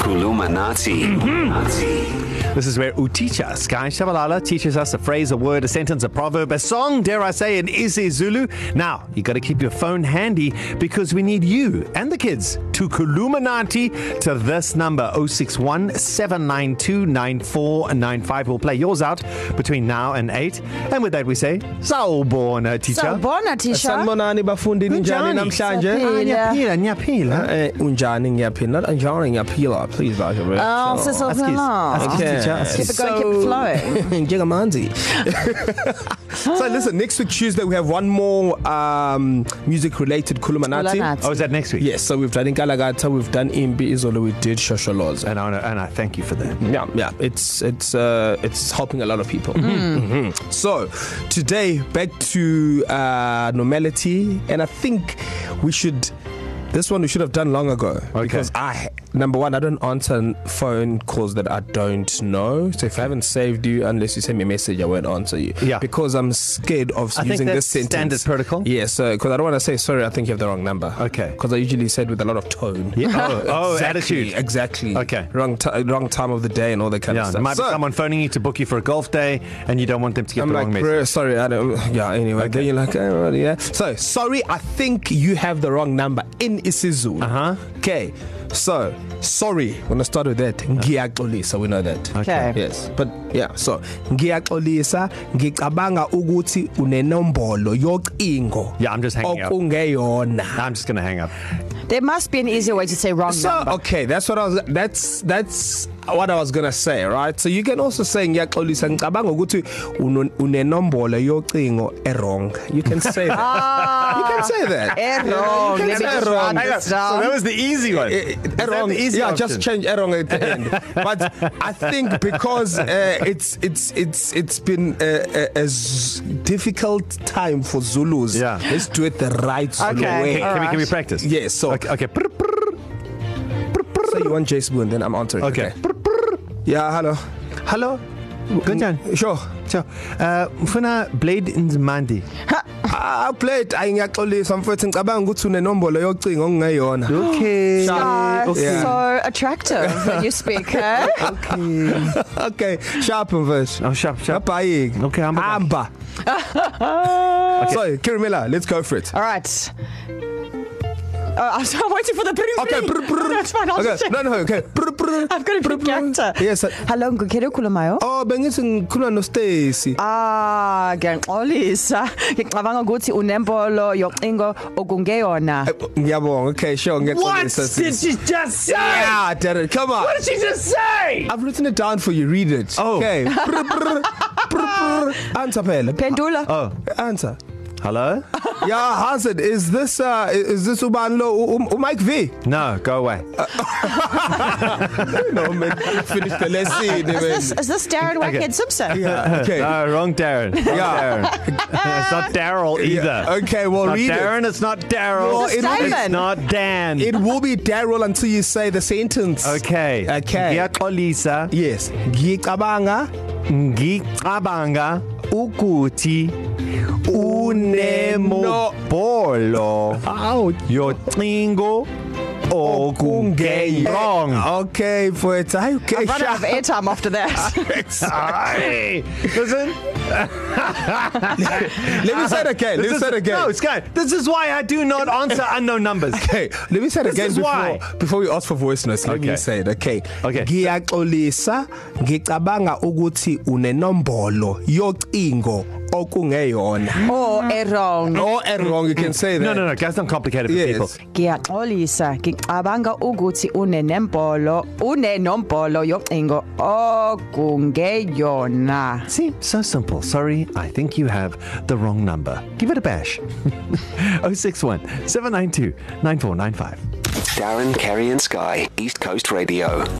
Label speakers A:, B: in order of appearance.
A: Kulumanati.
B: This is where Uticha Sky Shabalala teaches us a phrase, a word, a sentence, a proverb, a song, dare I say, an isiZulu. Now, you got to keep your phone handy because we need you and the kids to Kuluminati to this number 061 792 9495. We'll play yours out between now and 8. And with that, we say, Sawubona, teacher.
C: sawubona tisha Oh,
D: sanibonani bafundi ninjani
B: Kunjani?
D: namhlanje
C: Siyaphila.
B: Nyaphila, nyaphila.
D: eh unjani ngiyaphila njalo ngiyaphila please basho bro
C: oh sisophela
D: Okay.
C: keep it going keep it flowing
D: njengamanzi so listen next week tuesday we have one more um music related kulumanati
C: Kulumanati.
B: Oh, is that next week?
D: yes so we've done inkalakatha we've done impi izolo we did shosholoza
B: And I, and I thank you for that.
D: yeah yeah it's it's uh it's helping a lot of people mm. mm-hmm. so today back to uh normality and i think we should this one we should have done long ago okay. because i number one i don't answer n- phone calls that i don't know so if i haven't saved you unless you send me a message i won't answer you
B: Yeah.
D: because i'm scared of
B: I think
D: using
B: that's
D: this sentence
B: standard protocol.
D: yeah so because i don't want to say sorry i think you have the wrong number
B: Okay.
D: because i usually said with a lot of tone
B: Yeah. Oh, oh,
D: exactly,
B: attitude.
D: exactly
B: Okay.
D: wrong t- wrong time of the day and all that kind of
B: Yeah,
D: stuff
B: there might so,
D: so,
B: be someone phoning you to book you for a golf day, and you don't want them to get
D: I'm
B: the
D: like,
B: wrong message.
D: bro, sorry, I don't. Yeah, anyway. Okay. Then you're like, oh, well, yeah. So, sorry, I think you have the wrong number in isiZulu.
B: Uh-huh.
D: Okay. So, sorry. I'm gonna start with that. Ngiyaxolisa. We know that.
C: Okay.
D: Yes. But yeah. So, ngiyaxolisa. Ngicabanga ukuthi unenombolo yocingo.
B: Yeah, I'm just hanging up.
D: Okungeyona.
B: I'm just going to hang up.
C: there must be an easier way to say wrong
D: So
C: number
D: okay, that's what I was that's that's what I was going to say, right? So you can also say ngiyaxolisa ngicabanga ukuthi uno- unenombolo yocingo errong. You can say that. you can say that.
C: Errong.
D: You can
C: Ah, Let me
D: say
C: just
D: wrong.
C: write this
D: Errong.
C: down.
B: that was the easy one.
D: Eh, eh, Errong.
B: the easy
D: Yeah,
B: option?
D: just change errong at the end. but I think because uh, it's it's it's it's been a, a, a z- difficult time for Zulus.
B: Yeah.
D: Let's do it the right Zulu
C: Okay,
D: way.
B: Can, we, can we
C: Alright.
B: practice?
D: Yes, so-
B: Okay. okay. Prr, prr.
D: So you want Jay Spoon, then I'm answering.
B: Okay.
D: Yeah, hello.
B: Hello. Kunjani?
D: Sure.
B: Cha. Uh mfuna blade in Mandi.
D: Ah, plate ayi ngiyaxolisa mfethu ngicabanga ukuthi unenombolo yocingo ongeyona.
B: Okay.
C: are
D: Sharp.
C: yeah.
D: Oh, Yeah.
C: so attractive when you speak eh? huh?
B: Okay.
D: Okay, sharp mfethu.
B: Oh sharp sharp.
D: Yabhayiki.
B: Okay, hamba bye.
D: Hamba. okay. Sorry, Kirimela, let's go for it.
C: all right oh, I'm so waiting for the bring
D: Okay,
C: bring.
D: brr, brr.
C: that's fine I'll
D: okay.
C: just check.
D: No, no, okay. Brr, brr.
C: I've got a big character
D: Yes. I-
C: hello ngikhere khulumayo
D: Oh, bengithi ngikhuluma no Stacy.
C: Ah, ngiyaxolisa. Ngicabanga ukuthi unembolo yocingo okungeyona.
D: Eh, Ngiyabonga. Okay, sure, ngiyaxolisa. sis.
B: she just say?
D: Yeah, Derek, come on.
B: did she just say?
D: I've written it down for you. Read it.
B: Oh.
D: Okay. Brr, brr. Brr, brr. Answer phela.
C: Pendula. Oh.
B: Oh,
D: Answer.
B: hello?
D: Yeah, Hazard, is this uh is this Uban Lo U- U- Mike V?
B: No, go away.
D: no man, finish the lesson.
C: Is this is this Darren Whitehead okay. Simpson? Yeah.
D: yeah, okay.
B: No, wrong Darren. Wrong
D: Yeah.
B: Darren. it's not Daryl either.
D: Yeah. Okay, well,
B: Not
D: read it.
B: Darren, it's not Daryl.
D: Well,
C: This is
D: it-
C: Simon.
B: it's not Dan.
D: It will be Daryl until you say the sentence.
B: okay.
D: Okay.
B: Ngiyaxolisa.
D: Yes. Ngicabanga
B: ngicabanga ukuthi unemobolo
D: out
B: yocingo okungeyong
D: Okay, for it. Okay.
C: I've run out of
D: sure.
C: airtime after that.
B: Ay, listen
D: Let me say it again. Let
B: this
D: me
B: is,
D: say it again.
B: no Sky this is why I do not answer unknown numbers
D: Okay, let me say it
B: This
D: again
B: is
D: before
B: why.
D: before we ask for voice notes. Let okay.
B: Okay.
D: me say it. Okay.
B: Okay.
D: Ngiyaxolisa ngicabanga ukuthi unenombolo yocingo okungeyona.
C: or errong.
D: No errong you can say that.
B: no no no guys don't complicate it for yes.
D: Yes.
B: people
C: Ngiyaxolisa. Ngicabanga ukuthi unenembolo, unenombolo yocingo okungeyona.
B: See, so simple. Sorry, I think you have the wrong number. Give it a bash. 061 792 9495.
A: Darren, Kerry, and Sky, East Coast Radio.